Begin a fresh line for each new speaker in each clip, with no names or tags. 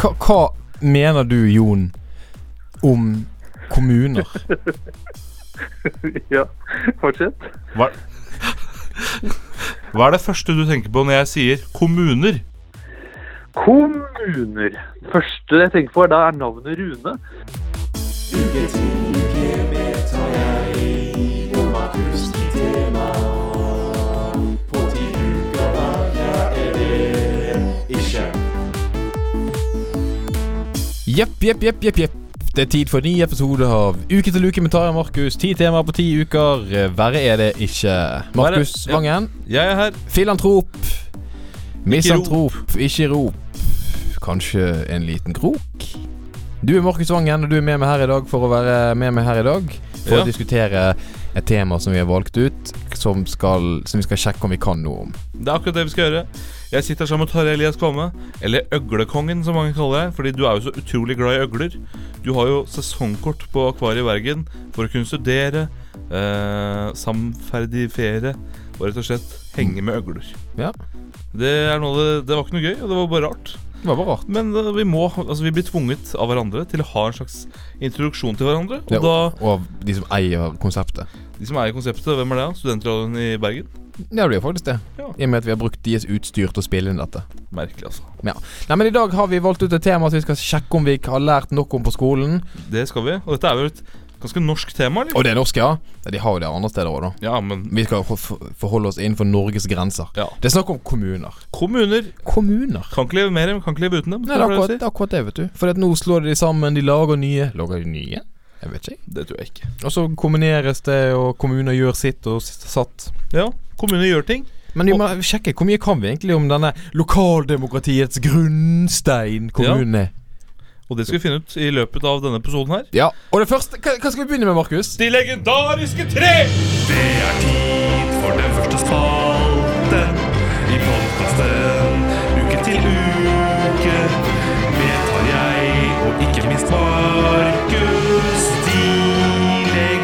Hva, hva mener du, Jon, om kommuner?
Ja, fortsett.
Hva, hva er det første du tenker på når jeg sier kommuner?
Kommuner. Det første jeg tenker på, er da er navnet Rune.
Jepp, jepp, jepp, jepp, jepp. Det er tid for en ny episode av Uke til uke med Tarjei og Markus. Ti temaer på ti uker. Eh, Verre er det ikke. Markus
Verre, ja.
Vangen,
Jeg er her.
filantrop. Misantrop, ikke rop. Kanskje en liten krok? Du er Markus Vangen, og du er med meg her i dag for å være med meg her i dag. For
Ja.
å diskutere et tema som vi har valgt ut, som, skal, som vi skal sjekke om vi kan noe om.
Det er akkurat det vi skal gjøre. Jeg sitter her sammen med Tarjei Elias Kvamme, eller Øglekongen som mange kaller deg, fordi du er jo så utrolig glad i øgler. Du har jo sesongkort på Akvariet i Bergen for å kunne studere, eh, samferdifere og rett og slett henge med øgler.
Ja.
Det, er noe, av det- det var ikke noe gøy, og det var bare rart.
Det var bare rart.
Men eh, vi må, altså vi blir tvunget av hverandre til å ha en slags introduksjon til hverandre. Og
Ja,
da,
og av de som eier konseptet.
de som er i konseptet, hvem er det? da? Studentradioen i Bergen?
Ja, det blir faktisk det.
Ja.
I og med at vi har brukt deres utstyr til å spille inn dette.
Merkelig, altså.
Nei, men I dag har vi valgt ut et tema som vi skal sjekke om vi har lært nok om på skolen.
Det skal vi. Og dette er jo et ganske norsk tema, eller?
Og det er norsk, ja. Ja, De har jo det andre steder òg, da.
Ja, men
Vi skal for- for- forholde oss innenfor Norges grenser.
Ja.
Det er snakk om kommuner.
Kommuner
Kommuner?
kan ikke leve med dem, kan ikke leve uten dem.
Nei, det er akkurat det, er akkurat det vet du. For at nå slår de sammen, de lager nye. Lager de nye? Jeg vet ikke.
det tror jeg ikke.
Og så kombineres det, og kommuner gjør sitt og s- satt.
Ja, kommuner gjør ting.
Men vi må sjekke hvor mye kan vi egentlig om denne lokaldemokratiets grunnstein kommunen er.
Og det skal vi finne ut i løpet av denne episoden her.
Ja, og det første Hva, hva skal vi begynne med, Markus?
De legendariske tre!
Det er tid for den første spalten i podkasten Uke til uke med Tarjei og ikke minst Markus. De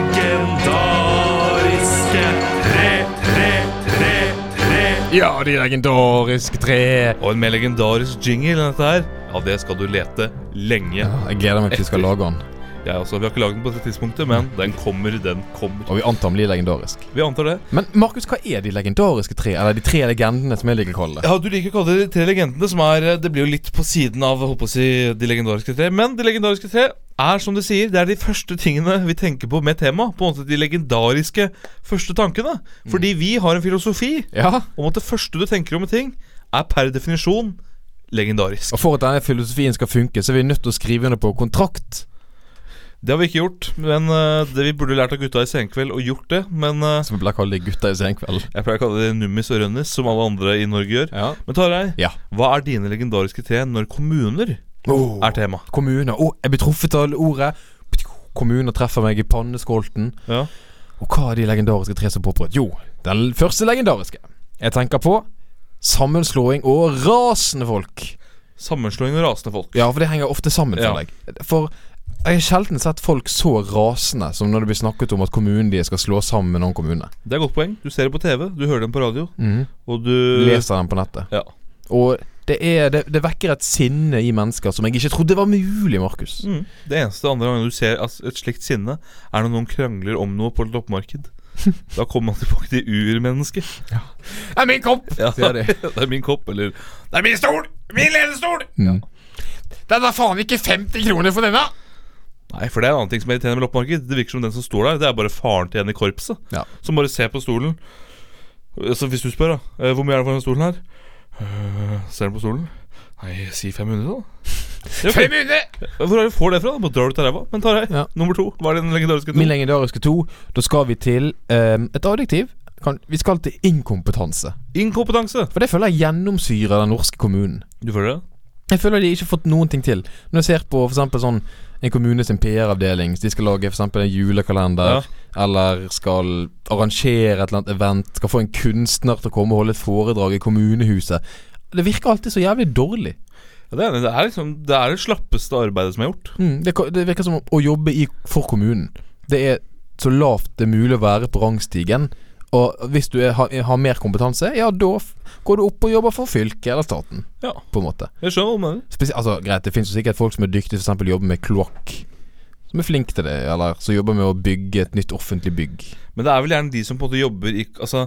legendariske tre, tre, tre, tre.
Ja, de legendariske tre.
Og en mer legendarisk jingle enn dette her, ja, det skal du lete lenge.
Jeg gleder meg til vi skal lage den.
Jeg også, Vi har ikke lagd den på dette tidspunktet, men den kommer, den kommer.
Og vi antar den blir legendarisk.
Vi antar det.
Men Markus, hva er de legendariske tre? Eller de tre legendene, som jeg liker å kalle det.
Ja, Du liker å kalle det de tre legendene, som er eh, Det blir jo litt på siden av holdt på å si, de legendariske tre. Men de legendariske tre er som du sier, det er de første tingene vi tenker på med tema. På en måte de legendariske første tankene. Fordi vi har en filosofi
Ja.
om at det første du tenker om en ting, er per definisjon legendarisk.
Og for at denne filosofien skal funke, så er vi nødt til å skrive under på kontrakt.
Det har vi ikke gjort, men eh, det vi burde lært av gutta i Senkveld, og gjort det. Men eh,
Som vi pleier å kalle de gutta i senkveld.
jeg pleier å kalle det nummis og rønnis, som alle andre i Norge gjør.
Ja.
Men Tarjei,
Ja.
hva er dine legendariske tre når kommuner
Oh,
er tema?
kommuner. Å, jeg blir truffet av ordet. Kommuner treffer meg i panneskolten.
Ja.
Og hva er de legendariske tre som påprøvd? Jo, den første legendariske. Jeg tenker på sammenslåing og rasende folk.
Sammenslåing og rasende folk.
Ja, for det henger ofte sammen
Ja.
for deg. For jeg har sjelden sett folk så rasende som når det blir snakket om at kommunen de skal slå sammen med en annen kommune.
Det er et godt poeng. Du ser det på TV, du hører dem på radio,
Mhm.
og du
Leser den på nettet.
Ja.
Og det, er, det, det vekker et sinne i mennesker som jeg ikke trodde var mulig, Markus.
Mm. Det eneste andre gangen du ser altså, et slikt sinne, er når noen krangler om noe på et loppemarked. Da kommer man tilbake til urmennesket.
Det er min kopp!
Ja.
Sier de.
det er min kopp, eller Det er min stol! Min ledestol!
Den er faen ikke 50 kroner for denne!
Nei, for det er en annen ting som er irriterende med loppemarked. Det virker som den som står der, det er bare faren til en i korpset.
Ja.
Som bare ser på stolen. Så hvis du spør, da. «Eh, Hvor mye er det for den stolen her? «Eh, Ser du på stolen? Nei, si 500, da. Det er ok. Hvor er det du får det fra? da? Bare drar du til ræva. Men Tarjei,
Ja.
nummer to. Hva er den legendariske
Min
to?
legendariske to. Da skal vi til ehm, et adjektiv. Kan, vi skal til inkompetanse.
Inkompetanse.
For det føler jeg gjennomsyrer den norske kommunen.
Du føler det?
Jeg føler de ikke har fått noen ting til. Når jeg ser på for eksempel sånn en kommune sin PR-avdeling, de skal lage for eksempel en julekalender, eller skal arrangere et eller annet event, skal få en kunstner til å komme og holde et foredrag i kommunehuset. Det virker alltid så jævlig dårlig.
Ja, det, er, det er liksom Det er det slappeste arbeidet som er gjort.
Mm, det, ka- det virker som å jobbe i, for kommunen. Det er så lavt det er mulig å være på rangstigen, Og hvis du er, har, har mer kompetanse, ja, da f- går du opp og jobber for fylket eller staten,
Ja.
på en måte.
Jeg skjønner hva du mener.
Spesi altså, greit, det finnes jo sikkert folk som er dyktige, for eksempel jobber med kloakk. Som er flink til det, eller som jobber med å bygge et nytt offentlig bygg.
Men det er vel gjerne de som på en måte jobber i Altså,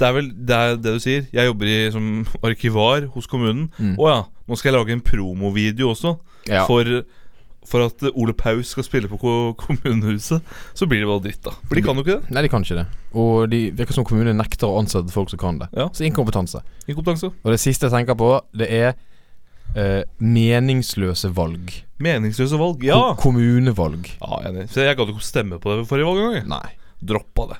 det er vel det, er det du sier. Jeg jobber i, som arkivar hos kommunen. Å
Mm.
ja, nå skal jeg lage en promovideo også.
Ja.
For, for at Ole Paus skal spille på ko- kommunehuset. Så blir det bare dritt, da. For de kan jo ikke det.
Nei, de kan ikke det. Og de virker som kommunen nekter å ansette folk som kan det.
Ja.
Så inkompetanse.
Inkompetanse.
Og det siste jeg tenker på, det er eh, meningsløse valg.
Meningsløse valg. Ja.
Ko- kommunevalg.
Ja, enig. Så jeg gadd ikke å stemme på det forrige valg engang.
Nei.
jeg. Droppa det.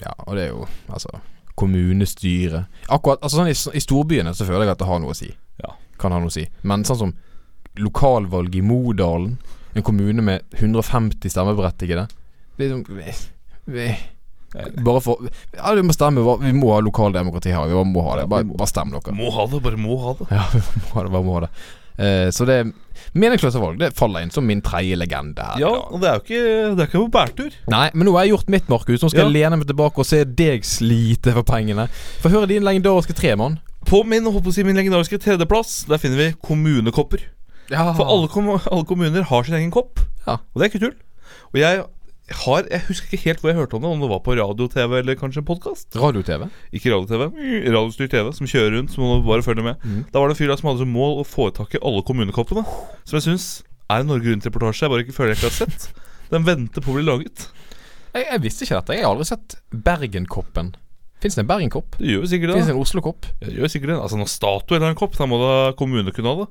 Ja, og det er jo altså kommunestyre Akkurat altså sånn i, i storbyene så føler jeg at det har noe å si.
Ja.
Kan ha noe å si. Men sånn som lokalvalg i Modalen, en kommune med 150 stemmeberettigede det er liksom, vi, vi, Bare for Ja, du må stemme. hva- Vi må ha lokaldemokrati her. Vi bare må ha det. Bare, bare stem dere.
Må ha det, bare må ha det.
Ja, vi må ha det, bare må ha det. Eh, så det Meningsløse valg det faller inn som min tredje legende her. i
Ja,
dag.
og det er jo ikke, det er ikke på bærtur.
Nei, men nå har jeg gjort mitt, Markus. Nå skal jeg lene meg tilbake og se deg slite for pengene. Få høre din legendariske tremann.
På min, holdt på å si, min legendariske tredjeplass Der finner vi kommunekopper.
Ja.
For alle, kom, alle kommuner har sin egen kopp,
Ah. Ja.
og det er ikke tull. Og jeg har Jeg husker ikke helt hvor jeg hørte om det, om det var på radio, TV eller kanskje en podkast.
Radio-TV.
Ikke radio-TV, radiostyrt TV som kjører rundt, så må du bare følge med. Da var det en fyr der som hadde som mål å få tak i alle kommunekoppene. Som jeg syns er en Norge Rundt-reportasje jeg bare ikke føler jeg ikke har sett. Den venter på å bli laget.
Jeg, jeg visste ikke dette. Jeg har aldri sett Bergenkoppen. Fins det en Bergenkopp?
Det gjør jo sikkert det.
Fins
da.
det en Oslo-kopp?
Ja, Det gjør sikkert det. Altså Når Statoil har en kopp, da må da kommunene kunne ha det.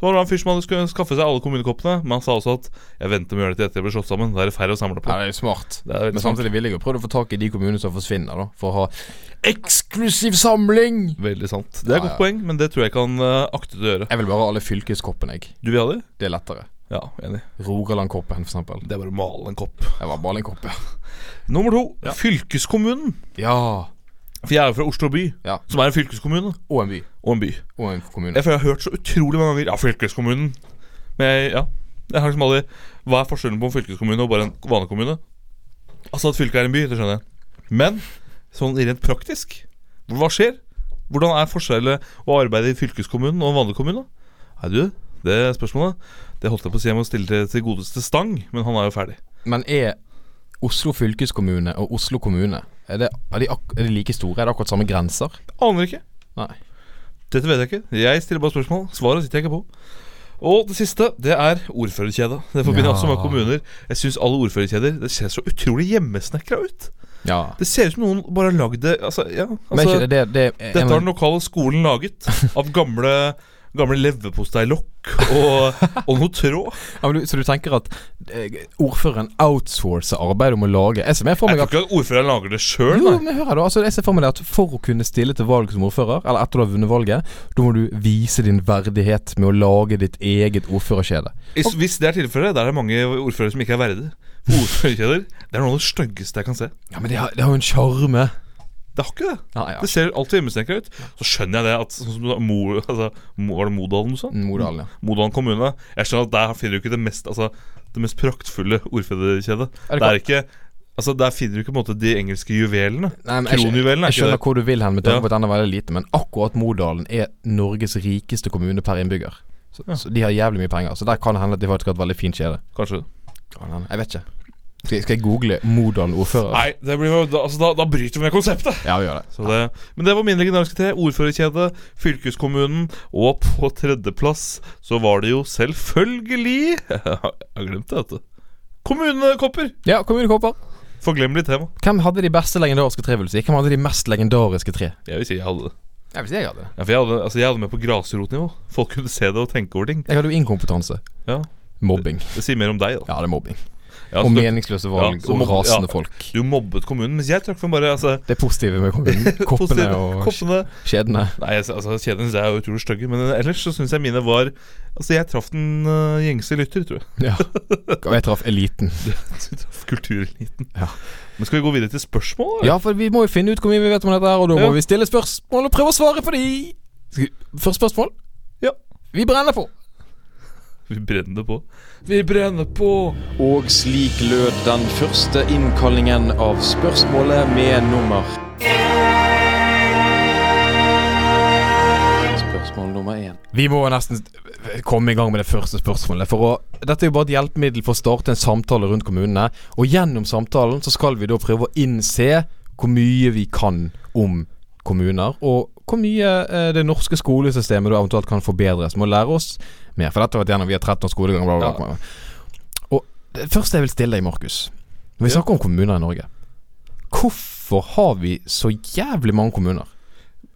Så var det en fyr som hadde skulle skaffe seg alle kommunekoppene, men han sa også at 'jeg venter med å gjøre det til etter jeg blir slått sammen'. Da er det færre å samle på.
Ja, det er jo smart.
Det er veldig
Men samtidig vil jeg jo prøve å få tak i de kommunene som forsvinner, da. For å ha eksklusiv samling!
Veldig sant. Det er et
Ja,
godt
ja.
poeng, men det tror jeg ikke han eh, aktet å gjøre.
Jeg vil bare ha alle fylkeskoppene, jeg.
Du vil ha det?
Det er lettere.
Ja, enig.
Rogalandkoppen, for eksempel.
Det er bare å male en kopp.
Jeg var bare en kopp, ja.
Nummer to. Fylkeskommunen.
Ja.
For jeg er jo fra Oslo by,
Ja.
som er en fylkeskommune
Og en by.
og en by.
Og en kommune.
Jeg, for jeg har hørt så utrolig mange ganger 'ja, fylkeskommunen'. Men jeg, ja. Jeg har liksom aldri Hva er forskjellen på en fylkeskommune og bare en vanlig kommune? Altså at fylket er en by, det skjønner jeg. Men sånn rent praktisk, hva skjer? Hvordan er forskjellen å arbeide i fylkeskommunen og en vanlig kommune? Nei, du, det spørsmålet Det holdt jeg på å si jeg må stille til, til godeste Stang, men han er jo ferdig.
Men er Oslo fylkeskommune og Oslo kommune Er, det, er, de, ak er de like store? Er det akkurat samme grenser?
Aner ikke.
Nei.
Dette vet jeg ikke. Jeg stiller bare spørsmål. Svaret sitter jeg ikke på. Og det siste, det er ordførerkjeda. Det forbinder jeg også med
Ja.
kommuner. Jeg syns alle ordførerkjeder Det ser så utrolig hjemmesnekra ut.
Ja.
Det ser ut som noen bare har lagd det Altså, ja.
Men er
Altså,
ikke det, det, det er,
dette har den lokale skolen laget av gamle Gamle leverposteilokk og, og noe tråd.
ja, men du, Så du tenker at eh, ordføreren outsourcer arbeidet om å lage Jeg ser mer for
Jeg
meg
tror
at
ikke at ordføreren lager det sjøl,
Oh jo,
nei.
men hør her da, altså jeg ser for meg det at For å kunne stille til valg som ordfører, eller etter du har vunnet valget, da må du vise din verdighet med å lage ditt eget ordførerkjede.
Hvis- Hvis det er tilfellet, da er det mange ordførere som ikke er verdige. For Ordførerkjeder det er noe av det styggeste jeg kan se.
Ja, Men det har det har jo en sjarme.
Det har ikke det.
Ja, ja.
Det ser alltid hjemmesnekra ut. Så skjønner jeg det at sånn som da Mo, altså, Mo, Var det Modalen du sa?
Modalen, ja.
Modalen kommune. Jeg skjønner at der finner du ikke det mest Altså Det mest praktfulle
Er
ordførerkjedet.
det
Det er ikke Altså Der finner du ikke på en måte de engelske juvelene.
Nei, men jeg,
Kronjuvelen
skjønner- jeg
er ikke
skjønner
det.
hvor du vil hen, med tanke
Ja.
på at den er veldig lite, men akkurat Modalen er Norges rikeste kommune per innbygger. Så, så De har jævlig mye penger, så der kan det hende at de faktisk har et veldig fint kjede.
Kanskje.
Kan hende. Jeg vet ikke. Skal jeg, skal jeg google Modalen ordfører?
Nei, det blir jo da, altså, da, da bryter vi med konseptet!
Ja, vi gjør det.
Så det, men det var min legendariske te. Ordførerkjedet, fylkeskommunen, og på tredjeplass så var det jo selvfølgelig Jeg har glemt det, vet du. Kommunekopper!
Ja, kommunekopper.
Forglemmelig tema.
Hvem hadde de beste legendariske tre, vil du si? Hvem hadde de mest legendariske tre?
Jeg vil si jeg hadde det.
Jeg vil si jeg hadde det.
Ja, for jeg hadde, altså, jeg hadde med på grasrotnivå. Folk kunne se det og tenke over ting.
Jeg hadde jo inkompetanse.
Ja,
Mobbing.
Det sier mer om deg, da.
Ja, det er mobbing. Og
Ja, så du,
meningsløse valg,
ja, så
og
mobb-
rasende
ja.
folk.
du mobbet kommunen, mens jeg trakk for bare altså,
Det er positive med kommunen. Koppene
positive-
og
koppene.
kjedene.
Nei, altså, altså kjedene er jo utrolig stygge, men ellers så syns jeg mine var Altså, jeg traff den øh, gjengse lytter, tror jeg.
Ja. Og jeg traff eliten.
Du traff kultureliten.
Ja.
Men skal vi gå videre til spørsmål? eller?
Ja, for vi må jo finne ut hvor mye vi vet om dette, her og da må
Ja.
vi stille spørsmål og prøve å svare på de. Skal vi- Første spørsmål?
Ja.
Vi brenner på.
Vi brenner det på. Vi brenner på!
Og slik lød den første innkallingen av spørsmålet med nummer
Vi må nesten komme i gang med det første spørsmålet. For å, Dette er jo bare et hjelpemiddel for å starte en samtale rundt kommunene. Og gjennom samtalen så skal vi da prøve å innse hvor mye vi kan om kommuner. Og hvor mye eh, det norske skolesystemet da eventuelt kan forbedres. Må lære oss mer. For dette har vært gjennom vi har 13 års skolegang. Bla, bla, bla. Og det første jeg vil stille deg, Markus. Når vi
Ja.
snakker om kommuner i Norge. Hvorfor har vi så jævlig mange kommuner?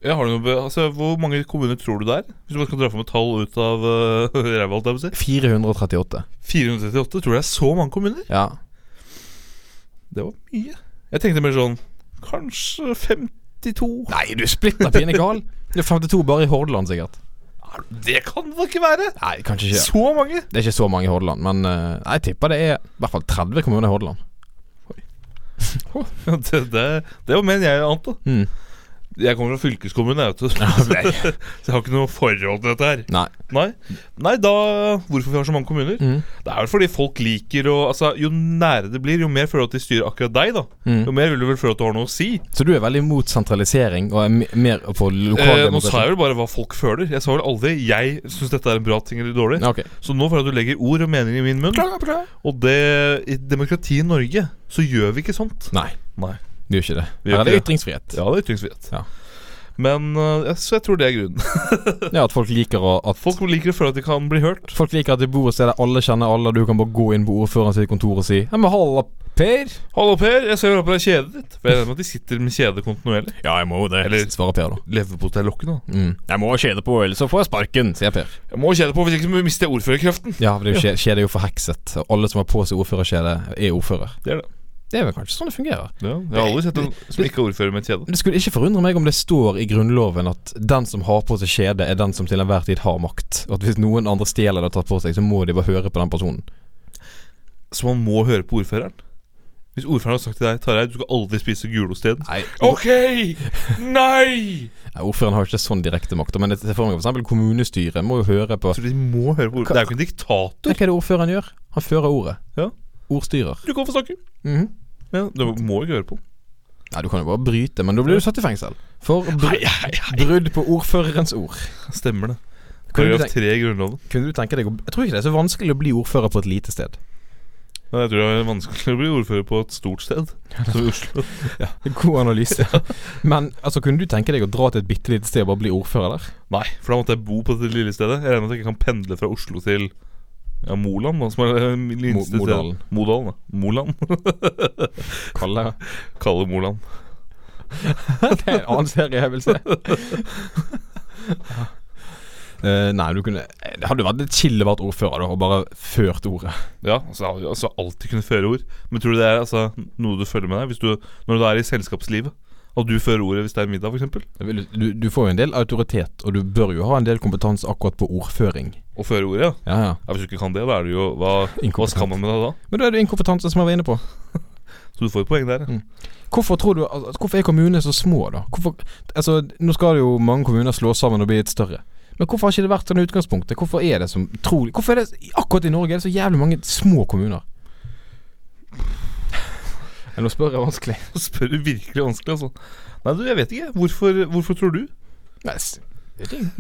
Ja, har du noe, be- altså, hvor mange kommuner tror du det er? Hvis du bare skal dra fram et tall ut av uh, ræva, holdt jeg på å si.
438.
438? Tror du det er så mange kommuner?
Ja.
Det var mye. Jeg tenkte mer sånn Kanskje 52?
Nei, du er splitter pinne gal. Det er 52 bare i Hordaland, sikkert.
Det kan det ikke være!
Nei, kanskje ikke.
Så mange!
Det er ikke så mange i Hordaland, men eh, jeg tipper det er i hvert fall 30 kommuner i Hordaland.
Ja, Det, det, det var mer enn jeg ante.
Mm.
Jeg kommer fra fylkeskommunen, jeg, vet du. Så jeg har ikke noe forhold til dette her.
Nei.
Nei. Nei, da Hvorfor vi har så mange kommuner?
Mm.
Det er vel fordi folk liker å Altså, jo nære det blir, jo mer føler du at de styrer akkurat deg, da.
Mm.
Jo mer vil du vel føle at du har noe å si.
Så du er veldig imot sentralisering og er me- mer for
Eh, nå sa
lokaldemokrati?
jeg vel bare hva folk føler. Jeg sa vel aldri 'jeg syns dette er en bra ting' eller dårlig.
Ja, ok.
Så nå føler jeg at du legger ord og mening i min munn. Og det i demokratiet Norge så gjør vi ikke sånt.
Nei,
Nei.
du gjør ikke det.
Vi gjør
Her er det
ikke det.
ytringsfrihet.
Ja, det er ytringsfrihet.
Ja.
Men eh, jeg- så jeg tror det er grunnen.
Ja, At folk liker å at
Folk liker å føle at de kan bli hørt.
Folk liker at de bor et sted der alle kjenner alle, og du kan bare gå inn på ordføreren sitt kontor og si Ja, men halla, Per.
'Hallo, Per, jeg ser opp på deg kjedet ditt.' For jeg regner med at de sitter med kjede kontinuerlig.
Ja, jeg må det.
Eller-
svarer Per, da.
Leverpoteillokkene. da.
Mm. Jeg må kjede på, ellers så får jeg sparken, sier Per.
Jeg må kjede på, hvis ikke så mister jeg ordførerkreften.
Ja, for det er jo kjede, kjede er jo forhekset. og Alle som har på seg ordførerkjede, er ordfører.
Det er det.
Det er vel kanskje sånn det fungerer.
Ja, jeg har aldri sett en som ikke er ordfører med et kjede.
Men Det skulle ikke forundre meg om det står i Grunnloven at den som har på seg kjede, er den som til enhver tid har makt. Og at hvis noen andre stjeler det og tar på seg, så må de bare høre på den personen.
Så man må høre på ordføreren? Hvis ordføreren har sagt til deg Tarjei, du skal aldri spise gulost igjen.
Nei,
OK! Nei!
Ordføreren har jo ikke sånn direkte makt, men jeg ser for meg for eksempel kommunestyret må jo høre på
Så de må høre på ordføreren. Det er jo ikke en diktator.
Hva er det ordføreren gjør? Han fører ordet.
Ja.
Ordstyrer.
Du kan få snakke.
Mhm.
Ja, du må jo ikke høre på.
Nei, du kan jo bare bryte, men da blir du satt i fengsel. For br brudd på ordførerens ord.
Stemmer det.
Kunne du,
Paragraf
tenke,
3 i Grunnloven.
kunne du tenke deg å Jeg tror ikke det er så vanskelig å bli ordfører på et lite sted.
Nei, jeg tror det er vanskelig å bli ordfører på et stort sted som Oslo.
God analyse. Men altså, kunne du tenke deg å dra til et bitte lite sted og bare bli ordfører der?
Nei, for da måtte jeg bo på dette lille stedet. Jeg regner med at jeg ikke kan pendle fra Oslo til ja, Moland, da, som er det minste
Mo- Modalen.
stedet. Modalen. ja. Moland.
Kalle
Kalle Moland.
Det er en annen serie jeg vil se. Eh, nei, du kunne Det hadde jo vært litt chill å være ordfører da, og bare ført ordet.
Ja, altså, al- altså alltid kunne føre ord. Men tror du det er altså, noe du føler med deg hvis du, når du er i selskapslivet? At du fører ordet hvis det er middag, f.eks.?
Du, du, du får jo en del autoritet, og du bør jo ha en del kompetanse akkurat på ordføring.
Å føre ordet, ja.
Ja, ja.
ja. Hvis du ikke kan det, da er du jo Hva, hva
Inkompetent.
skal man med deg da?
Men da er det inkompetanse som jeg var inne på.
Så du får et poeng der. ja.
Hvorfor tror du altså, Hvorfor er kommunene så små, da? Hvorfor, altså, nå skal jo mange kommuner slås sammen og bli et større. Men hvorfor har ikke det vært sånn i utgangspunktet? Hvorfor er det som trolig Hvorfor er det akkurat i Norge er det så jævlig mange små kommuner? Ja, Nå spør jeg vanskelig.
Nå spør du virkelig vanskelig, altså. Nei, du, jeg vet ikke. Hvorfor, hvorfor tror du?
Nei, s-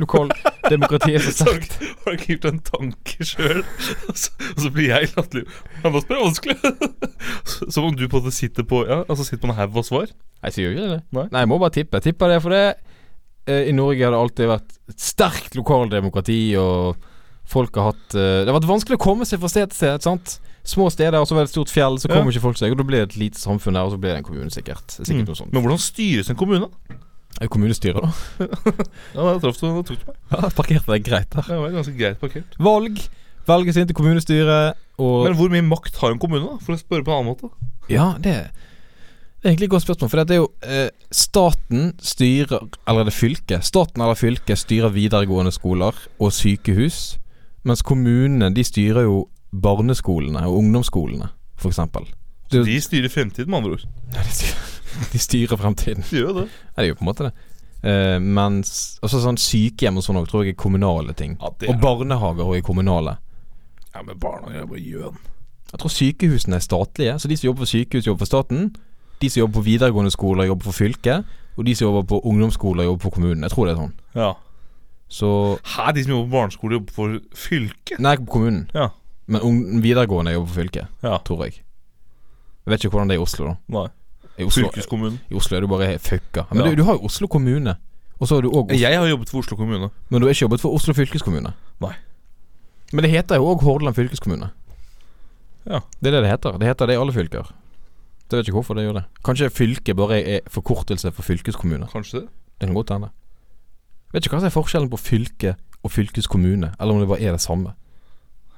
Lokaldemokratiet er så
Så har
sterkt.
du ikke- har du ikke gjort deg en tanke sjøl? Og så- og så blir jeg latterlig. Ja, nå spør jeg vanskelig. Så- Som om du på en måte sitter på Ja, altså sitter på en haug av svar.
Nei, sier jo ikke det.
Nei.
jeg må bare tippe. Jeg tipper det fordi eh, i Norge har det alltid vært et sterkt lokaldemokrati, og folk har hatt eh, Det har vært vanskelig å komme seg fra sted til sted. sant? Små steder, og så var det et stort fjell, så
Ja.
kommer ikke folk seg. Og da blir det et lite samfunn der, og så blir det en kommune, sikkert. Sikkert noe sånt.
Mm. Men hvordan styres en kommune?
Er det kommunestyret, da?
Ja, da traff du, da tok du meg.
Ja, parkerte deg greit der.
Det var ganske greit parkert.
Valg. Velges inn til kommunestyret, og
Men hvor mye makt har en kommune, da? For å spørre på en annen måte.
Ja, det det er egentlig et godt spørsmål. For det er jo eh, staten styrer Eller er det fylket? Staten eller fylket styrer videregående skoler og sykehus. Mens kommunene de styrer jo barneskolene og ungdomsskolene, f.eks.
De styrer fremtiden, med andre ord.
De styrer fremtiden.
De gjør jo det.
Ja, det er jo på en måte det. Eh, mens også sånn sykehjem og sånn òg tror jeg er kommunale ting.
Ja, det
Og barnehager òg er kommunale.
ja, men barnehager er bare gjøn.
Jeg tror sykehusene er statlige, så de som jobber på sykehus, jobber for staten. De som jobber på videregående skoler, jobber for fylket. Og de som jobber på ungdomsskoler, jobber for kommunen. Jeg tror det er sånn.
Ja.
Så
Hæ, de som jobber på barneskole, jobber for fylket?
Nei, på kommunen.
Ja.
Men ung- videregående jobber for fylket,
Ja.
tror jeg. Jeg vet ikke hvordan det er i Oslo, da.
Nei.
I Oslo,
Fylkeskommunen.
i Oslo er du bare fucka. Men
Ja.
du, du har jo Oslo kommune. Og så har du òg
Jeg har jobbet for Oslo kommune.
Men du har ikke jobbet for Oslo fylkeskommune?
Nei.
Men det heter jo òg Hordaland fylkeskommune.
Ja.
Det er det det heter. Det heter det i alle fylker. Så Jeg vet ikke hvorfor det gjør det. Kanskje fylke bare er forkortelse for fylkeskommune.
Kanskje det?
Det kan godt hende. Vet ikke hva som er forskjellen på fylke og fylkeskommune, eller om det bare er det samme.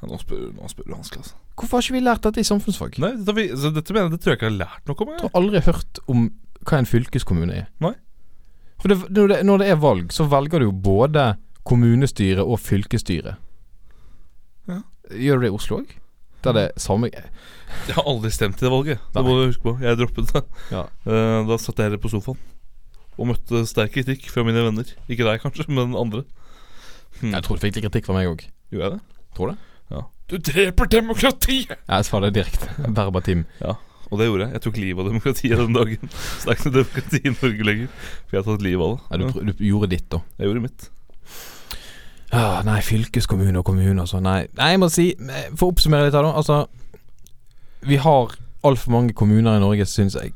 Ja, Nå spør, nå spør du vanskelig, altså.
Hvorfor har ikke vi lært dette i samfunnsfag?
Nei, dette, har vi, så dette mener jeg, det tror jeg ikke jeg har lært noe om.
Jeg
Jeg.
har aldri hørt om hva en fylkeskommune er.
Nei.
For det, når, det, når det er valg, så velger du jo både kommunestyre og fylkesstyre.
Ja.
Gjør du det i Oslo òg? Der det er samme Jeg
jeg har aldri stemt i det valget. Det
Nei.
må du huske på. Jeg droppet det.
Ja.
Eh, da satt jeg her på sofaen og møtte sterk kritikk fra mine venner. Ikke deg, kanskje, men andre.
tror du fikk litt kritikk fra meg òg.
Gjorde jeg det?
Tror det?
Ja. Du dreper demokratiet!
Jeg svarer direkte. Verbatim.
Og det gjorde jeg. Jeg tok livet av demokratiet den dagen. Så det er ikke noe demokrati i Norge lenger. For jeg har tatt livet av det.
Ja, du,
Ja,
pr- du gjorde ditt, da.
jeg gjorde mitt.
Ah, nei, fylkeskommune og kommune og sånn. Nei. nei, jeg må si eh, For å oppsummere litt her, da. Altså, vi har altfor mange kommuner i Norge, syns jeg.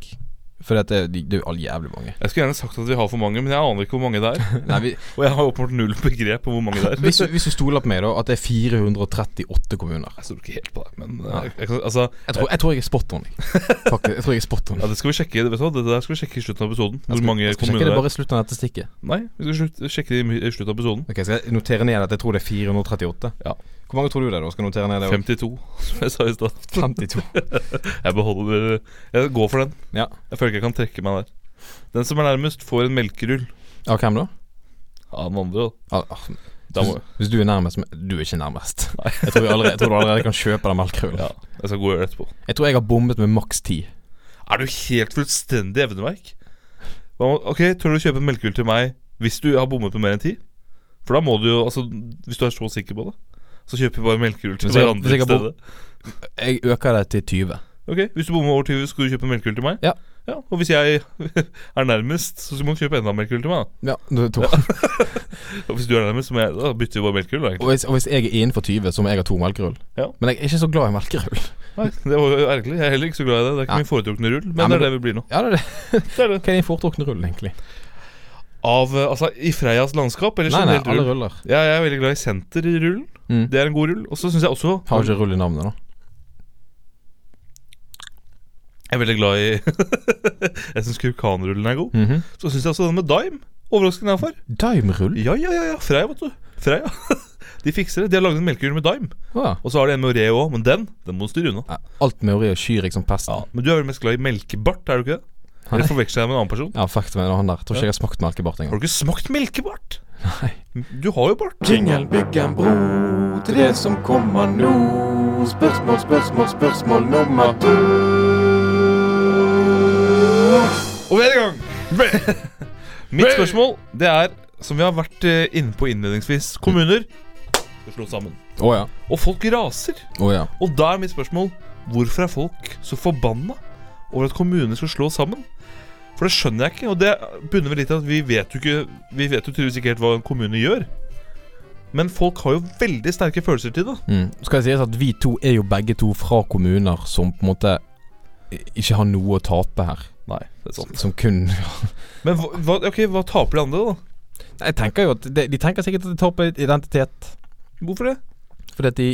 For det, det er jo all jævlig mange.
Jeg skulle gjerne sagt at vi har for mange, men jeg aner ikke hvor mange det er.
Nei, vi,
Og jeg har åpenbart null begrep om hvor mange det er.
hvis, du, hvis du stoler på meg, da, at det er 438 kommuner
Jeg stoler ikke helt på deg, men eh,
Nei.
jeg kan, altså,
Jeg tror jeg, tror jeg er spot on. Faktisk, jeg tror jeg er spot on.
ja, det skal vi sjekke vet du hva? Det der skal vi sjekke i slutten av episoden.
Jeg
Hvor mange
jeg skal sjekke
kommuner
det
det er.
bare i slutten av dette stikket.
Nei, vi skal slutt, sjekke det i mi- i slutten av episoden.
Ok, Skal jeg notere ned at jeg tror det er 438?
Ja.
Hvor mange tror du det er, da? Skal jeg notere ned det?
52, som jeg sa i stad.
52.
Jeg beholder eh, Jeg går for den.
Ja.
Jeg føler ikke jeg kan trekke meg der. Den som er nærmest, får en melkerull
Av hvem da?
av den andre. da.
Ah, ah,
Da må
hvis, hvis du er nærmest men Du er ikke nærmest. Jeg tror, vi allerede, jeg tror du allerede kan kjøpe den melkerullen.
Ja, jeg skal gå og gjøre det etterpå.
Jeg tror jeg har bommet med maks ti.
Er du helt fullstendig evneverk? Hva må- Ok, tør du kjøpe en melkerull til meg hvis du har bommet på mer enn ti? For da må du jo altså, Hvis du er så sikker på det, så kjøper vi bare melkerull til
Hvis jeg-
hverandre
hvis jeg
i
har bom-
stedet.
Jeg øker det til 20.
Ok, Hvis du bommer over 20, skal du kjøpe en melkerull til meg?
Ja.
Og hvis jeg er nærmest, så må du kjøpe enda en melkerull til meg.
Ja, det er to.
da. Og hvis du er nærmest, så må jeg, da bytter vi bare melkerull. da,
Og,
egentlig.
hvis, og hvis jeg er innenfor 20, så må jeg ha to melkerull.
Ja.
Men jeg er ikke så glad i melkerull.
Nei, det var jo ærlig. Jeg er heller ikke så glad i det. Det er ikke
Ja.
min foretrukne rull, men,
Ja, men
det er
det-
det vi blir nå.
Ja, det er det.
Det er det.
Hva er din foretrukne rull, egentlig?
Av, eh, altså, I Freias landskap, eller
Nei, nei,
generelt
alle
rull.
ruller.
Ja, jeg er veldig glad i senterrullen.
Mm.
Det er en god rull. Og så syns jeg også
Har ikke rull i navnet, da.
Jeg er veldig glad i Jeg syns kurkanrullen er god.
Mhm.
Så syns jeg også den med dime. Overraskende er for.
Daimrull?
Ja, ja, ja, ja. Freia, vet du. Freia. De fikser det. De har laget en melkerull med dime.
Å ja.
Og så har de en med Oreo òg, men den den må du styre unna.
Ja, Alt med Oreo liksom, skyr jeg som pesten.
Ja, Men du er vel mest glad i melkebart, er du ikke det?
Nei.
Eller forveksler jeg med en annen person?
Ja, fuck med han der. Tror ikke jeg har smakt melkebart
Har
engang.
du ikke smakt melkebart?
Nei.
Du har jo bart.
Jingle, bygg en bro til det som kommer nå. Spørsmål, spørsmål, spørsmål nummer to.
Og vi er i gang! Mitt spørsmål det er, som vi har vært eh, inne på innledningsvis Kommuner skal slås sammen.
Å ja.
Og folk raser.
Å ja.
Og da er mitt spørsmål hvorfor er folk så forbanna over at kommuner skal slås sammen? For det skjønner jeg ikke. Og det bunner vel litt i at vi vet jo ikke Vi vet jo tydeligvis ikke helt hva en kommune gjør. Men folk har jo veldig sterke følelser til det.
Mm. Skal det sies at vi to er jo begge to fra kommuner som på en måte i- ikke har noe å tape her.
Nei, det er sant
Som kun
Men hva, hva- ok, hva taper de andre, da?
Jeg tenker jo at De, de tenker sikkert at de taper litt identitet.
Hvorfor det?
Fordi at de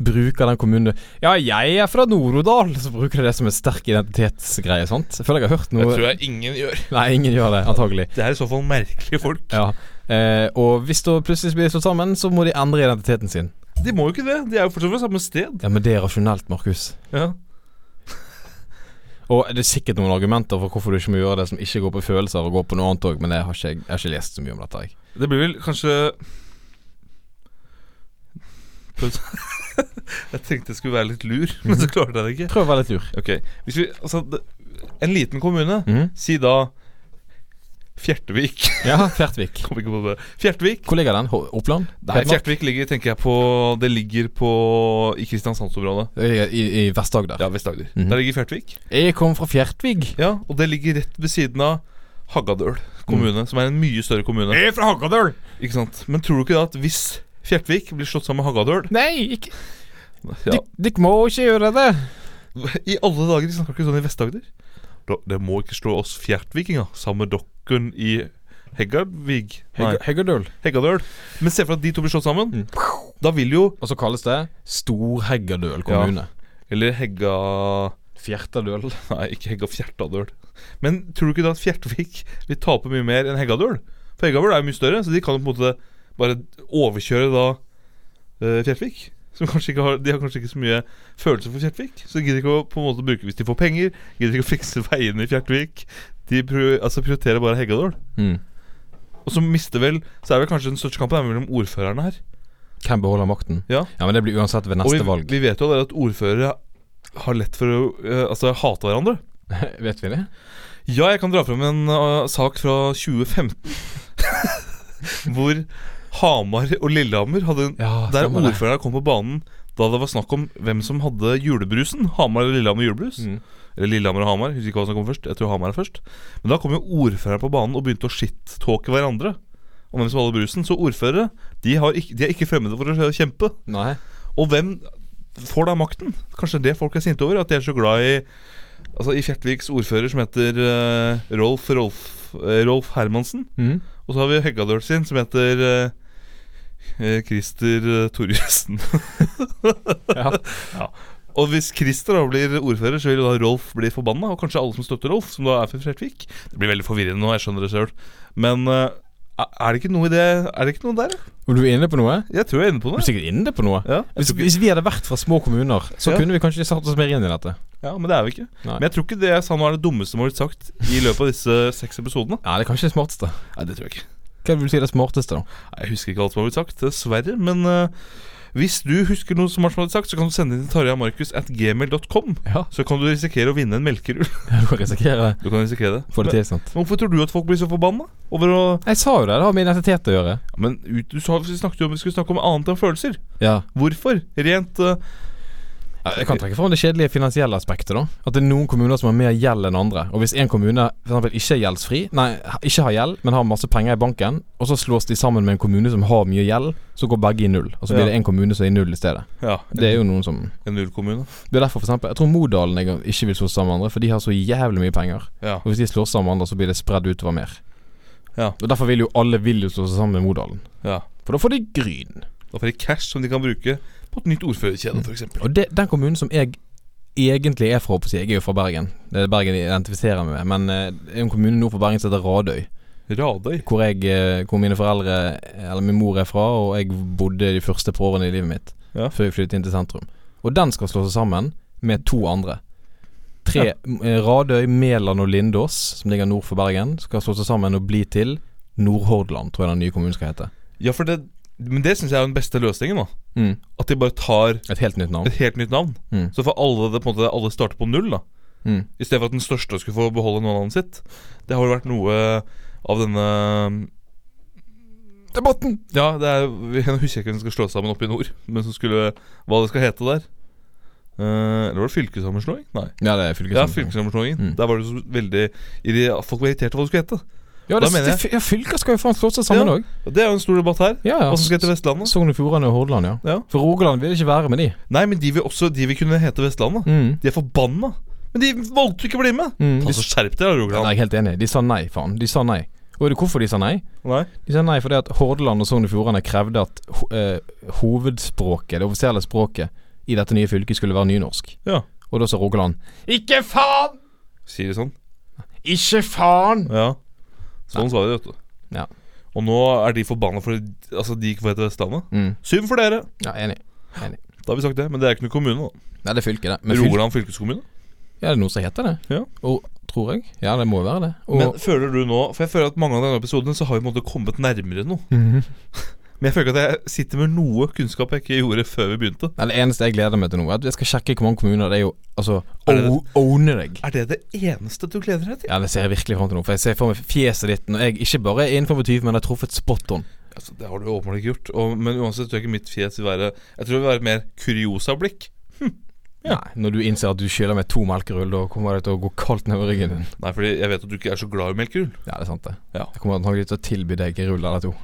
bruker den kommunen Ja, jeg er fra Nord-Odal! Så bruker de det som en sterk identitetsgreie, sant? Jeg føler jeg har hørt noe
jeg ingen gjør.
Nei, ingen gjør det, antagelig.
Det er i så fall merkelige folk.
Ja. Eh, og hvis det plutselig blir slått sammen, så må de endre identiteten sin.
De må jo ikke det. De er jo fortsatt fra samme sted.
Ja, men det er rasjonelt, Markus.
Ja.
Og det er sikkert noen argumenter for hvorfor du ikke må gjøre det som ikke går på følelser og går på noe annet òg, men jeg har, ikke, jeg har ikke lest så mye om dette, jeg.
Det blir vel kanskje Prøv- Jeg tenkte jeg skulle være litt lur, men så klarte jeg det ikke.
Prøv å være litt lur.
Mhm. Ok, hvis vi, altså det- En liten kommune,
Mhm.
si da Fjertevik.
Ja, Fjertvik.
Kom ikke på det. Fjertevik.
Hvor ligger den? Ho- Oppland?
Nei,
Hedmark?
Fjertevik ligger, tenker jeg på Det ligger på i Kristiansandsområdet.
Det ligger I, i Vest-Agder.
Ja, Vest-Agder.
Mhm.
Der ligger Fjertevik.
Jeg kommer fra Fjertvig.
Ja, Mhm. Og det ligger rett ved siden av Haggadøl kommune, som er en mye større kommune.
er fra Hakkadøl!
Ikke sant? Men tror du ikke da at hvis Fjertvik blir slått sammen med Hagadøl
Nei, ikke,
ja.
dere- dere må ikke gjøre det.
I alle dager, de snakker ikke sånn i Vest-Agder. Da- Det må ikke slå oss fjertvikinger sammen med dokken i Heggavig. Nei,
Heggerdøl.
Heggadøl. Mm. Men se for deg at de to blir slått sammen. Da vil jo
Og så kalles det Storheggerdøl kommune.
Eller Hegga
Fjertadøl.
Nei, ikke Hegga Fjertadøl. Men tror du ikke da at Fjertvik vil tape mye mer enn Heggadøl? For Heggadøl er jo mye større, så de kan jo på en måte bare overkjøre da eh, Fjertvik. Som kanskje ikke har, de har kanskje ikke så mye følelse for Fjertvik. Så de gidder ikke å på en måte bruke hvis de får penger. Gidder ikke å fikse veiene i Fjertvik. De pri- altså prioriterer bare Heggadøl.
Mm.
Og så mister vel Så er vel kanskje den største kampen er mellom ordførerne her.
Hvem beholder makten?
Ja.
men det blir uansett ved
Og vi,
neste valg.
vi vet jo allerede at ordførere har lett for å eh, altså, hate hverandre.
Vet vi det?
Ja, jeg kan dra fram en uh, sak fra 2015 Hvor Hamar og Lillehammer hadde en,
Ja,
Der
stemmer det.
ordføreren kom på banen Da det var snakk om hvem som hadde julebrusen Hamar og Lillehammer julebrus
Mm.
Eller Lillehammer og Hamar, jeg husker ikke hva som kom først Jeg tror Hamar er først Men da kom jo ordføreren på banen og begynte å shit-talke hverandre Om hvem som hadde brusen Så ordførere, de, har ikke, de er ikke fremmede for å kjempe
Nei.
og hvem får da makten? Kanskje det folk er sinte over? At de er så glad i Altså i Fjertviks ordfører som heter eh, Rolf, Rolf, eh, Rolf Hermansen.
Mm.
Og så har vi Høggadøl sin som heter eh, eh, Christer eh, Torjussen.
Ja.
Ja. Og hvis Christer da blir ordfører, så vil jo da Rolf bli forbanna. Og kanskje alle som støtter Rolf, som da er fra Fjertvik. Det blir veldig forvirrende nå, jeg skjønner det sjøl. Men eh, er det ikke noe i det Er det ikke noe der?
Og du er inne på noe?
Jeg tror jeg er inne på
Du
noe.
er sikkert inne på noe.
Ja, jeg
Hvis,
tror ikke-
hvis vi hadde vært fra små kommuner, så
Ja.
kunne vi kanskje satt oss mer inn i dette.
Ja, men det er vi ikke.
Nei.
Men jeg tror ikke det jeg sa nå er det dummeste som har blitt sagt i løpet av disse seks episodene.
Ja, det er kanskje det smarteste.
Nei, det tror jeg ikke.
Hva vil du si er det smarteste, da?
Nei, Jeg husker ikke alt som har blitt sagt, dessverre. Men eh, hvis du husker noe smart som har blitt sagt, så kan du sende inn til tarjamarkus at gmail.com.
Ja,
Så kan du risikere å vinne en melkerull.
Du kan risikere
Du kan risikere det.
å få det tilsendt.
Men hvorfor tror du at folk blir så forbanna? Over å
Jeg sa jo det. Det har med identitet å gjøre.
Ja, Men ut, du sa, vi snakket jo om vi skulle snakke om annet enn følelser.
Ja.
Hvorfor? Rent eh,
Ja, Jeg kan trekke fram det kjedelige finansielle aspektet. da At det er noen kommuner som har mer gjeld enn andre. Og hvis en kommune for eksempel, ikke er gjeldsfri, nei, ha- ikke har gjeld, men har masse penger i banken, og så slås de sammen med en kommune som har mye gjeld, så går begge i null. Og så blir
Ja.
det en kommune som er i null i stedet.
Ja,
Det er jo noen som
en nullkommune.
Det er derfor for eksempel, Jeg tror Modalen jeg ikke vil slås sammen med andre, for de har så jævlig mye penger.
Ja.
Og hvis de slås sammen med andre, så blir det spredd utover mer.
Ja.
Og Derfor vil jo alle vil jo slå seg sammen med Modalen.
ja.
For da får de gryn.
Da får de cash som de kan bruke på et nytt ordførerkjede, f.eks.
Og det, den kommunen som jeg egentlig er fra, håper jeg, jeg er jo fra Bergen. Det er Bergen jeg identifiserer meg med. Men eh, det er en kommune nord for Bergen som heter Radøy.
Radøy.
Hvor, jeg, eh, hvor mine foreldre, eller min mor, er fra, og jeg bodde de første par årene i livet mitt.
Ja.
Før jeg flyttet inn til sentrum. Og den skal slå seg sammen med to andre. Tre, eh, Radøy, Mæland og Lindås, som ligger nord for Bergen, skal slå seg sammen og bli til Nordhordland, tror jeg den nye kommunen skal hete.
Ja, for det Men det syns jeg er den beste løsningen, da.
Mm.
At de bare tar
Et helt nytt navn.
et helt nytt navn.
Mm.
Så får alle det på en måte Alle starter på null, da.
Mm.
I stedet for at den største skulle få beholde navnet sitt. Det har jo vært noe av denne
Debatten!
Ja, det er Jeg husker ikke hvem som skal slå sammen oppe i nord, men som skulle Hva det skal hete der. Eh, eller var det fylkessammenslåing? Nei.
Ja, det er
Ja,
fylkeskommunen.
fylkessammenslåingen.
Mm.
Der var det så veldig irri- Folk var irriterte over hva det skulle hete.
Ja,
Da
det,
mener jeg-
det, ja, fylker skal jo faen slå seg sammen
Ja.
òg.
Og Det er jo en stor debatt her.
Ja. Ja,
Hva som skal hete Vestlandet?
Sogn og Fjordane og Hordaland, ja.
Ja.
For Rogaland vil ikke være med de.
Nei, men de vil også De vil kunne hete Vestlandet.
Mm.
De er forbanna. Men de valgte jo ikke å bli med!
Mm. De,
Altså, skjerp deg, da,
ja, nei,
Rogaland.
jeg er helt enig. De sa nei, faen. De sa nei. Og vet du hvorfor de sa nei?
Nei.
De sa nei fordi at Hordaland og Sogn og Fjordane krevde at ho eh, hovedspråket, det offisielle språket, i dette nye fylket skulle være nynorsk.
Ja.
Og da sa Rogaland Ikke faen!
Sier de sånn?
Ikke faen!
Ja. Sånn sa de, vet du.
Ja.
Og nå er de forbanna fordi altså, de ikke får hete Vestlandet.
Mm.
Synd for dere!
Ja, enig.
Da har vi sagt det. Men det er ikke noe kommune, da.
Nei, det er fylket, det. Men fylke,
Rogaland fylkeskommune.
ja, det er noe som heter det.
Ja.
Og, tror jeg. Ja, det må jo være det. Og,
Men føler du nå For jeg føler at mange av denne episodene så har vi på en måte kommet nærmere noe.
Mhm.
Men jeg føler ikke at jeg sitter med noe kunnskap jeg ikke gjorde før vi begynte.
Nei, Det eneste jeg gleder meg til nå, er at jeg skal sjekke hvor mange kommuner det er jo Altså,
Er det det?
o- owne deg.
Er det det eneste du gleder deg til?
Ja, det ser jeg virkelig fram til nå. For jeg ser for meg fjeset ditt når jeg ikke bare er innenfor 20, men har truffet spot on.
Altså, det har du åpenbart ikke gjort. Og, men uansett tror jeg ikke mitt fjes vil være Jeg tror det vil være et mer kuriosa-blikk. Ja.
Nei, når du innser at du skylder meg to melkerull, da kommer det til å gå kaldt nedover ryggen din.
Nei, fordi jeg vet at du ikke er så glad i melkerull.
Ja, det er sant, det.
Ja.
Jeg kommer antagelig til å tilby deg rull eller to.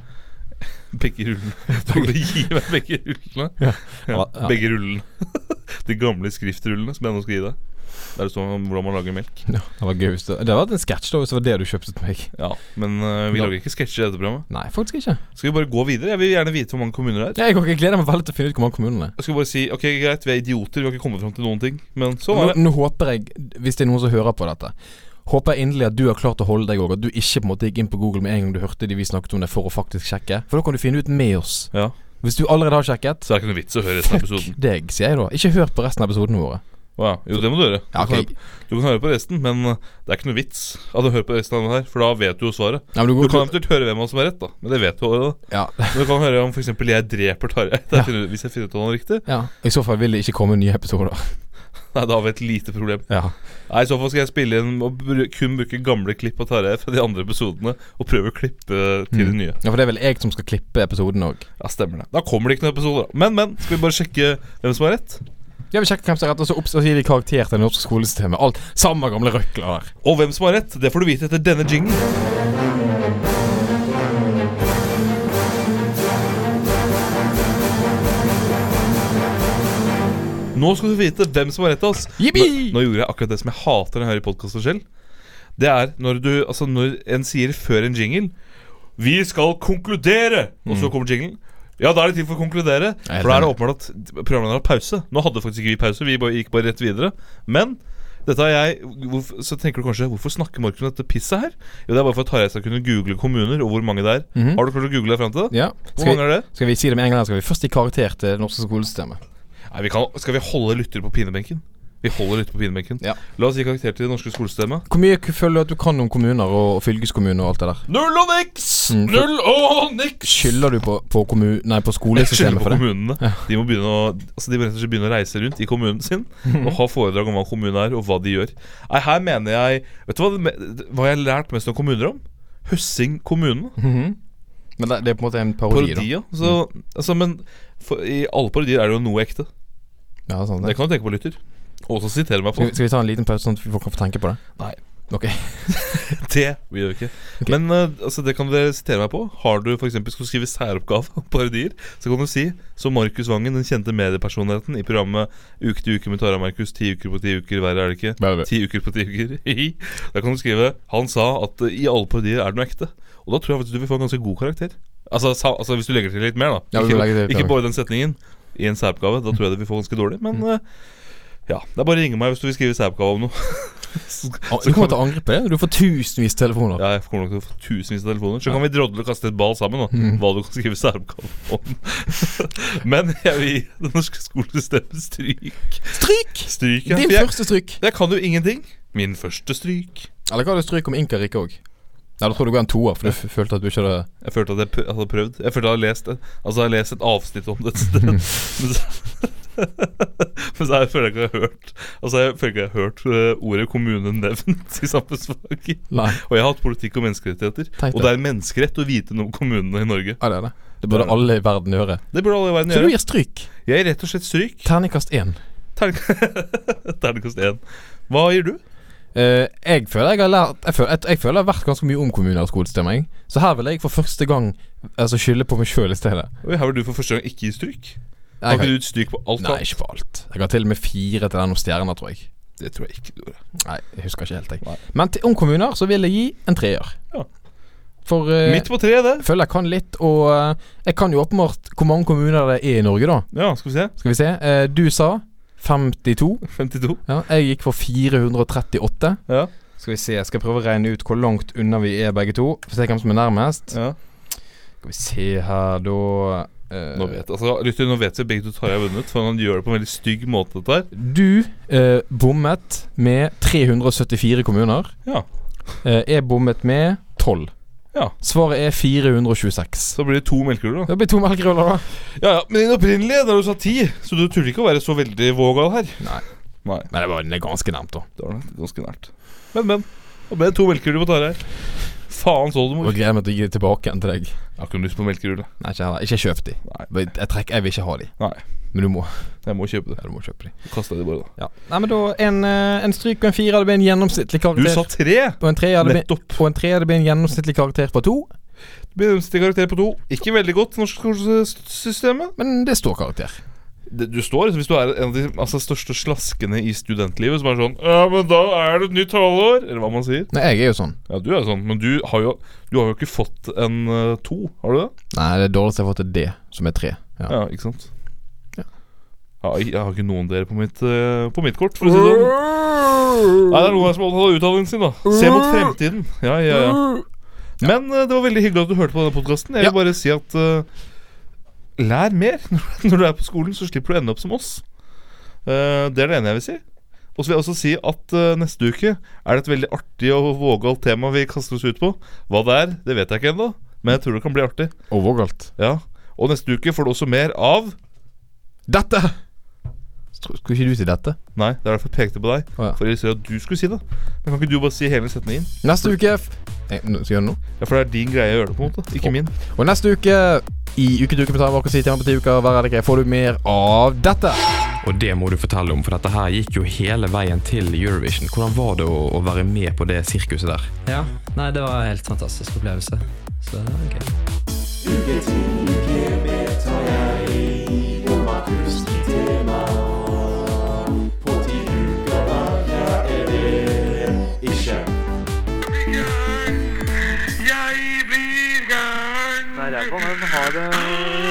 Begge rullene. Tore, gi meg begge rullene.
Ja.
Ja,
Ja.
begge rullene. De gamle skriftrullene som jeg nå skal gi deg. Der det står om hvordan man lager melk.
Ja, det var gøy hvis det Det hadde vært en sketsj da hvis det var det du kjøpte til meg.
Ja, Men eh, vi
Ja.
lager ikke sketsjer i dette programmet.
Nei, faktisk ikke.
Skal vi bare gå videre? Jeg vil gjerne vite hvor mange kommuner det er.
Jeg, jeg gleder meg veldig til å finne ut hvor mange kommunene er.
Jeg skal bare si ok, greit, vi er idioter, vi har ikke kommet fram til noen ting. Men så
Nå,
var det.
nå håper jeg, hvis det er noen som hører på dette Håper jeg inderlig at du har klart å holde deg òg, at du ikke på en måte gikk inn på Google med en gang du hørte de vi snakket om det, for å faktisk sjekke. For da kan du finne ut med oss.
Ja,
Hvis du allerede har sjekket,
Så det er ikke noe vits å høre resten av episoden.
deg, sier jeg da. Ikke hør på resten av episodene våre.
Å ja. Jo, det må du gjøre. Du,
Ja, ok.
kan høre, du kan høre på resten, men eh, det er ikke noe vits at du hører på resten av den her, for da vet du jo svaret.
Nei, men du
Du
går,
kan eventuelt høre hvem av oss som er rett, da, men det vet du allerede.
ja,
Men du kan høre om f.eks. jeg dreper Tarjei, da
Ja.
finner du- hvis jeg finner ut av noe riktig.
ja. I så fall vil det ikke komme nye episoder.
Nei, da har vi et lite problem.
Ja.
Nei, I så fall skal jeg spille inn og bru kun bruke gamle klipp av Tarjei fra de andre episodene, og prøve å klippe til de nye.
ja, for det er vel jeg som skal klippe episoden òg.
Mm. Ja, stemmer det. Da kommer det ikke noen episoder, da. Men, men. Skal vi bare sjekke hvem som har rett?
Ja, vi sjekker hvem som er rett, og så, opps- og så gir vi karakter til det norske skolesystemet. Alt samme gamle røkla der.
Og hvem som har rett, det får du vite etter denne jingen. Nå skal du få vite hvem som har rett til oss. Nå,
Jippi!
nå gjorde jeg akkurat det som jeg hater når jeg hører podkaster selv. Det er når du Altså når en sier før en jingle 'Vi skal konkludere', og så kommer jinglen. Ja, da er det tid for å konkludere.
Jeg er
For da er det
enig.
åpenbart at programlederen har pause. Nå hadde faktisk ikke vi pause, vi bare, gikk bare rett videre. Men dette har jeg hvorf- Så tenker du kanskje Hvorfor snakker Markus om dette pisset her? Jo, det er bare for at Tarjei skal kunne google kommuner og hvor mange det er.
Mhm.
Har du klart å google deg fram til det?
Ja.
Hvor
Skal vi,
mange er det?
skal vi si det med en gang, eller skal vi først gi karakter til det norske skolesystemet?
Nei, vi kan, Skal vi holde lyttere på pinebenken? Vi holder lyttere på pinebenken.
Ja.
La oss gi karakter til det norske skolesystemet.
Hvor mye k- føler du at du kan om kommuner og fylkeskommuner og alt det der?
Null og niks!
Mm, for-
Null og niks!
Skylder du på, på, kommu- nei, på
Jeg skylder
skolesystemet
på
for det?
kommunene. De må begynne å Altså de må rett og slett begynne å reise rundt i kommunen sin og ha foredrag om hva kommunen er, og hva de gjør. Nei, her mener jeg Vet du hva, det me- hva jeg har lært mest om kommuner om? Høssing kommune.
Mhm. Men det, det er på en måte en parodi,
Parodi, ja. Så,
Mm.
altså, men for, i alle parodier er det jo noe ekte.
da. Ja, sånn,
Det
det.
kan du tenke på, lytter. Og så siterer meg på
Skal, vi, skal vi ta en liten pause, sånn at folk kan få tenke på det?
Nei.
Ok.
det. Vi gjør ikke.
Ok.
Men eh, altså, det kan dere sitere meg på. Har du f.eks. skal skrive særoppgave om parodier, så kan du si som Markus Vangen, den kjente mediepersonligheten i programmet Uke til uke med Tara Markus, ti uker på ti uker, verre er det ikke.
Bare det.
Ti uker på ti uker. da kan du skrive Han sa at eh, i alle parodier er det noe ekte. Og da tror jeg faktisk du vil få en ganske god karakter. Altså, sa, altså hvis du legger til litt mer, da.
Ja, vi må legge til litt
ikke ikke
mer. Mm.
bare den setningen i en særoppgave. Da tror jeg det vil få ganske dårlig. Men eh, ja, det er bare å ringe meg hvis du vil skrive særoppgave om noe.
Ah, Du kommer til å angre på det. Du får tusenvis telefoner.
Ja, jeg kommer nok til å få tusenvis av telefoner. Så kan vi drodle og kaste et ball sammen, da. Hva du kan skrive særoppgave om. Men jeg vil gi det norske skolesystemet stryk.
Stryk!
Stryk, ja.
Din
For jeg,
første stryk.
jeg kan jo ingenting. Min første stryk.
Eller hva hadde du stryk om Inka Rikke òg? Nei, da tror jeg du ga en toer, for du f følte at du ikke hadde
Jeg følte at jeg pr- hadde prøvd. Jeg følte at jeg hadde lest, altså, jeg hadde lest et avsnitt om det et sted. Men så, men så jeg føler jeg ikke jeg har hørt Altså jeg føler ikke jeg har hørt øh, ordet kommune nevnt i samfunnsfaget.
Nei.
Og jeg har hatt politikk og menneskerettigheter.
Tenk
Og
det.
det er en menneskerett å vite noe om kommunene i Norge.
Ja, det er det. Det burde alle i verden gjøre.
Det burde alle i verden
Så du
gjøre.
gir stryk.
Jeg gir rett og slett stryk.
Terningkast én.
Tern- Terningkast én. Hva gir du?
Eh, jeg føler jeg har lært jeg føler, jeg, jeg føler jeg har vært ganske mye om kommuner og skolesystemet. jeg. Så her vil jeg for første gang altså, skylde på meg sjøl i stedet.
Oi, her vil du for første gang ikke gi stryk. Har
Jeg
ikke
har,
du gitt stryk på alt?
nei,
annet?
ikke på alt. Jeg har til og med fire til den om stjerner, tror jeg.
Det tror jeg ikke du gjorde.
Nei, jeg husker ikke helt,
Nei.
jeg. Men til, om kommuner så vil jeg gi en treer.
Ja.
For eh,
Midt på treet, det.
jeg føler jeg kan litt, og eh, jeg kan jo åpenbart hvor mange kommuner det er i Norge, da.
Ja, skal vi se.
Skal vi se. Eh, du sa 52.
52.
Ja, jeg gikk for 438.
Ja.
Skal vi se, jeg skal prøve å regne ut hvor langt unna vi er begge to. For å se hvem som er nærmest.
ja.
Skal vi se her, da eh,
Nå vet, altså, lytter, nå vet vi begge to Tarjei har vunnet, for han gjør det på en veldig stygg måte. dette her
Du eh, bommet med 374 kommuner.
Ja.
Eh, jeg bommet med 12.
Ja.
Svaret er 426.
Så blir det to melkeruller, da.
Det blir to melkeruller, da.
Ja, ja, Men din opprinnelige, da du sa ti, så du turte ikke å være så veldig vågal her.
Nei.
Nei,
Men det var det er ganske nærmt, da.
Det var det ganske nært. Men, men. Da ble det to melkeruller på Tarjei. Faen så du,
Og
mor.
jeg gleder meg til å gi det tilbake igjen til deg.
Jeg har ikke noe lyst på melkerulle.
Nei, ikke heller. Ikke kjøp de.
Nei.
Men Jeg, trekk, jeg vil ikke ha de.
Nei.
Men du må.
Jeg må kjøpe det.
Ja, du må kjøpe de.
Kasta de bare, da.
Ja. Nei, men da en, eh, en stryk og en fire, det blir en gjennomsnittlig
Du
karakter.
sa tre!
og en tre, det blir
Nettopp.
Og en tre, det blir en gjennomsnittlig karakter på to.
Minste karakter på to. Ikke veldig godt, norsk skolesystemet.
Men det står karakter.
Det- Du står liksom, hvis du er en av de altså, største slaskene i studentlivet, som er sånn Ja, men da er det et nytt halvår! Eller hva man sier.
Nei, jeg er jo sånn.
Ja, du er sånn, men du har jo, du har jo ikke fått en eh, to, har du det?
Nei, det er dårligst jeg har fått til det, som er tre. Ja.
Ja, ikke sant?
Ja.
Ja, jeg jeg har ikke noen dere på mitt, eh, på mitt kort, for å si det sånn. Nei, det er noen her som har utdanningen sin, da. Se mot fremtiden. Ja, ja, ja. Men eh, det var veldig hyggelig at du hørte på denne podkasten. Jeg vil bare si at eh, lær mer. Når du er på skolen, så slipper du å ende opp som oss. Eh, det er det ene jeg vil si. Og så vil jeg også si at eh, neste uke er det et veldig artig og vågalt tema vi kaster oss ut på. Hva det er, det vet jeg ikke ennå, men jeg tror det kan bli artig.
Og vågalt.
Ja, Og neste uke får du også mer av
Dette! Stro- Skulle ikke du si dette?
Nei, det er derfor jeg pekte på deg.
Å, ja.
For å illustrere at du skulle si det. Men kan ikke du bare si hele setningen?
Neste uke f- Eh, nå- Skal jeg gjøre det nå?
Ja, For det er din greie å gjøre det, på en måte. Ikke min.
Og neste uke i Uke til uke på Tarmark og si tema på ti uker, hver er det ikke, får du mer av dette.
Og det må du fortelle om, for dette her gikk jo hele veien til Eurovision. Hvordan var det å, å være med på det sirkuset der?
Ja, nei, det var en helt fantastisk opplevelse. Så det var gøy.
Uke til uke vedtar jeg Romakust i tema På ti uker hver ja, er det ikke
Nei, ræva, sånn, den har eh,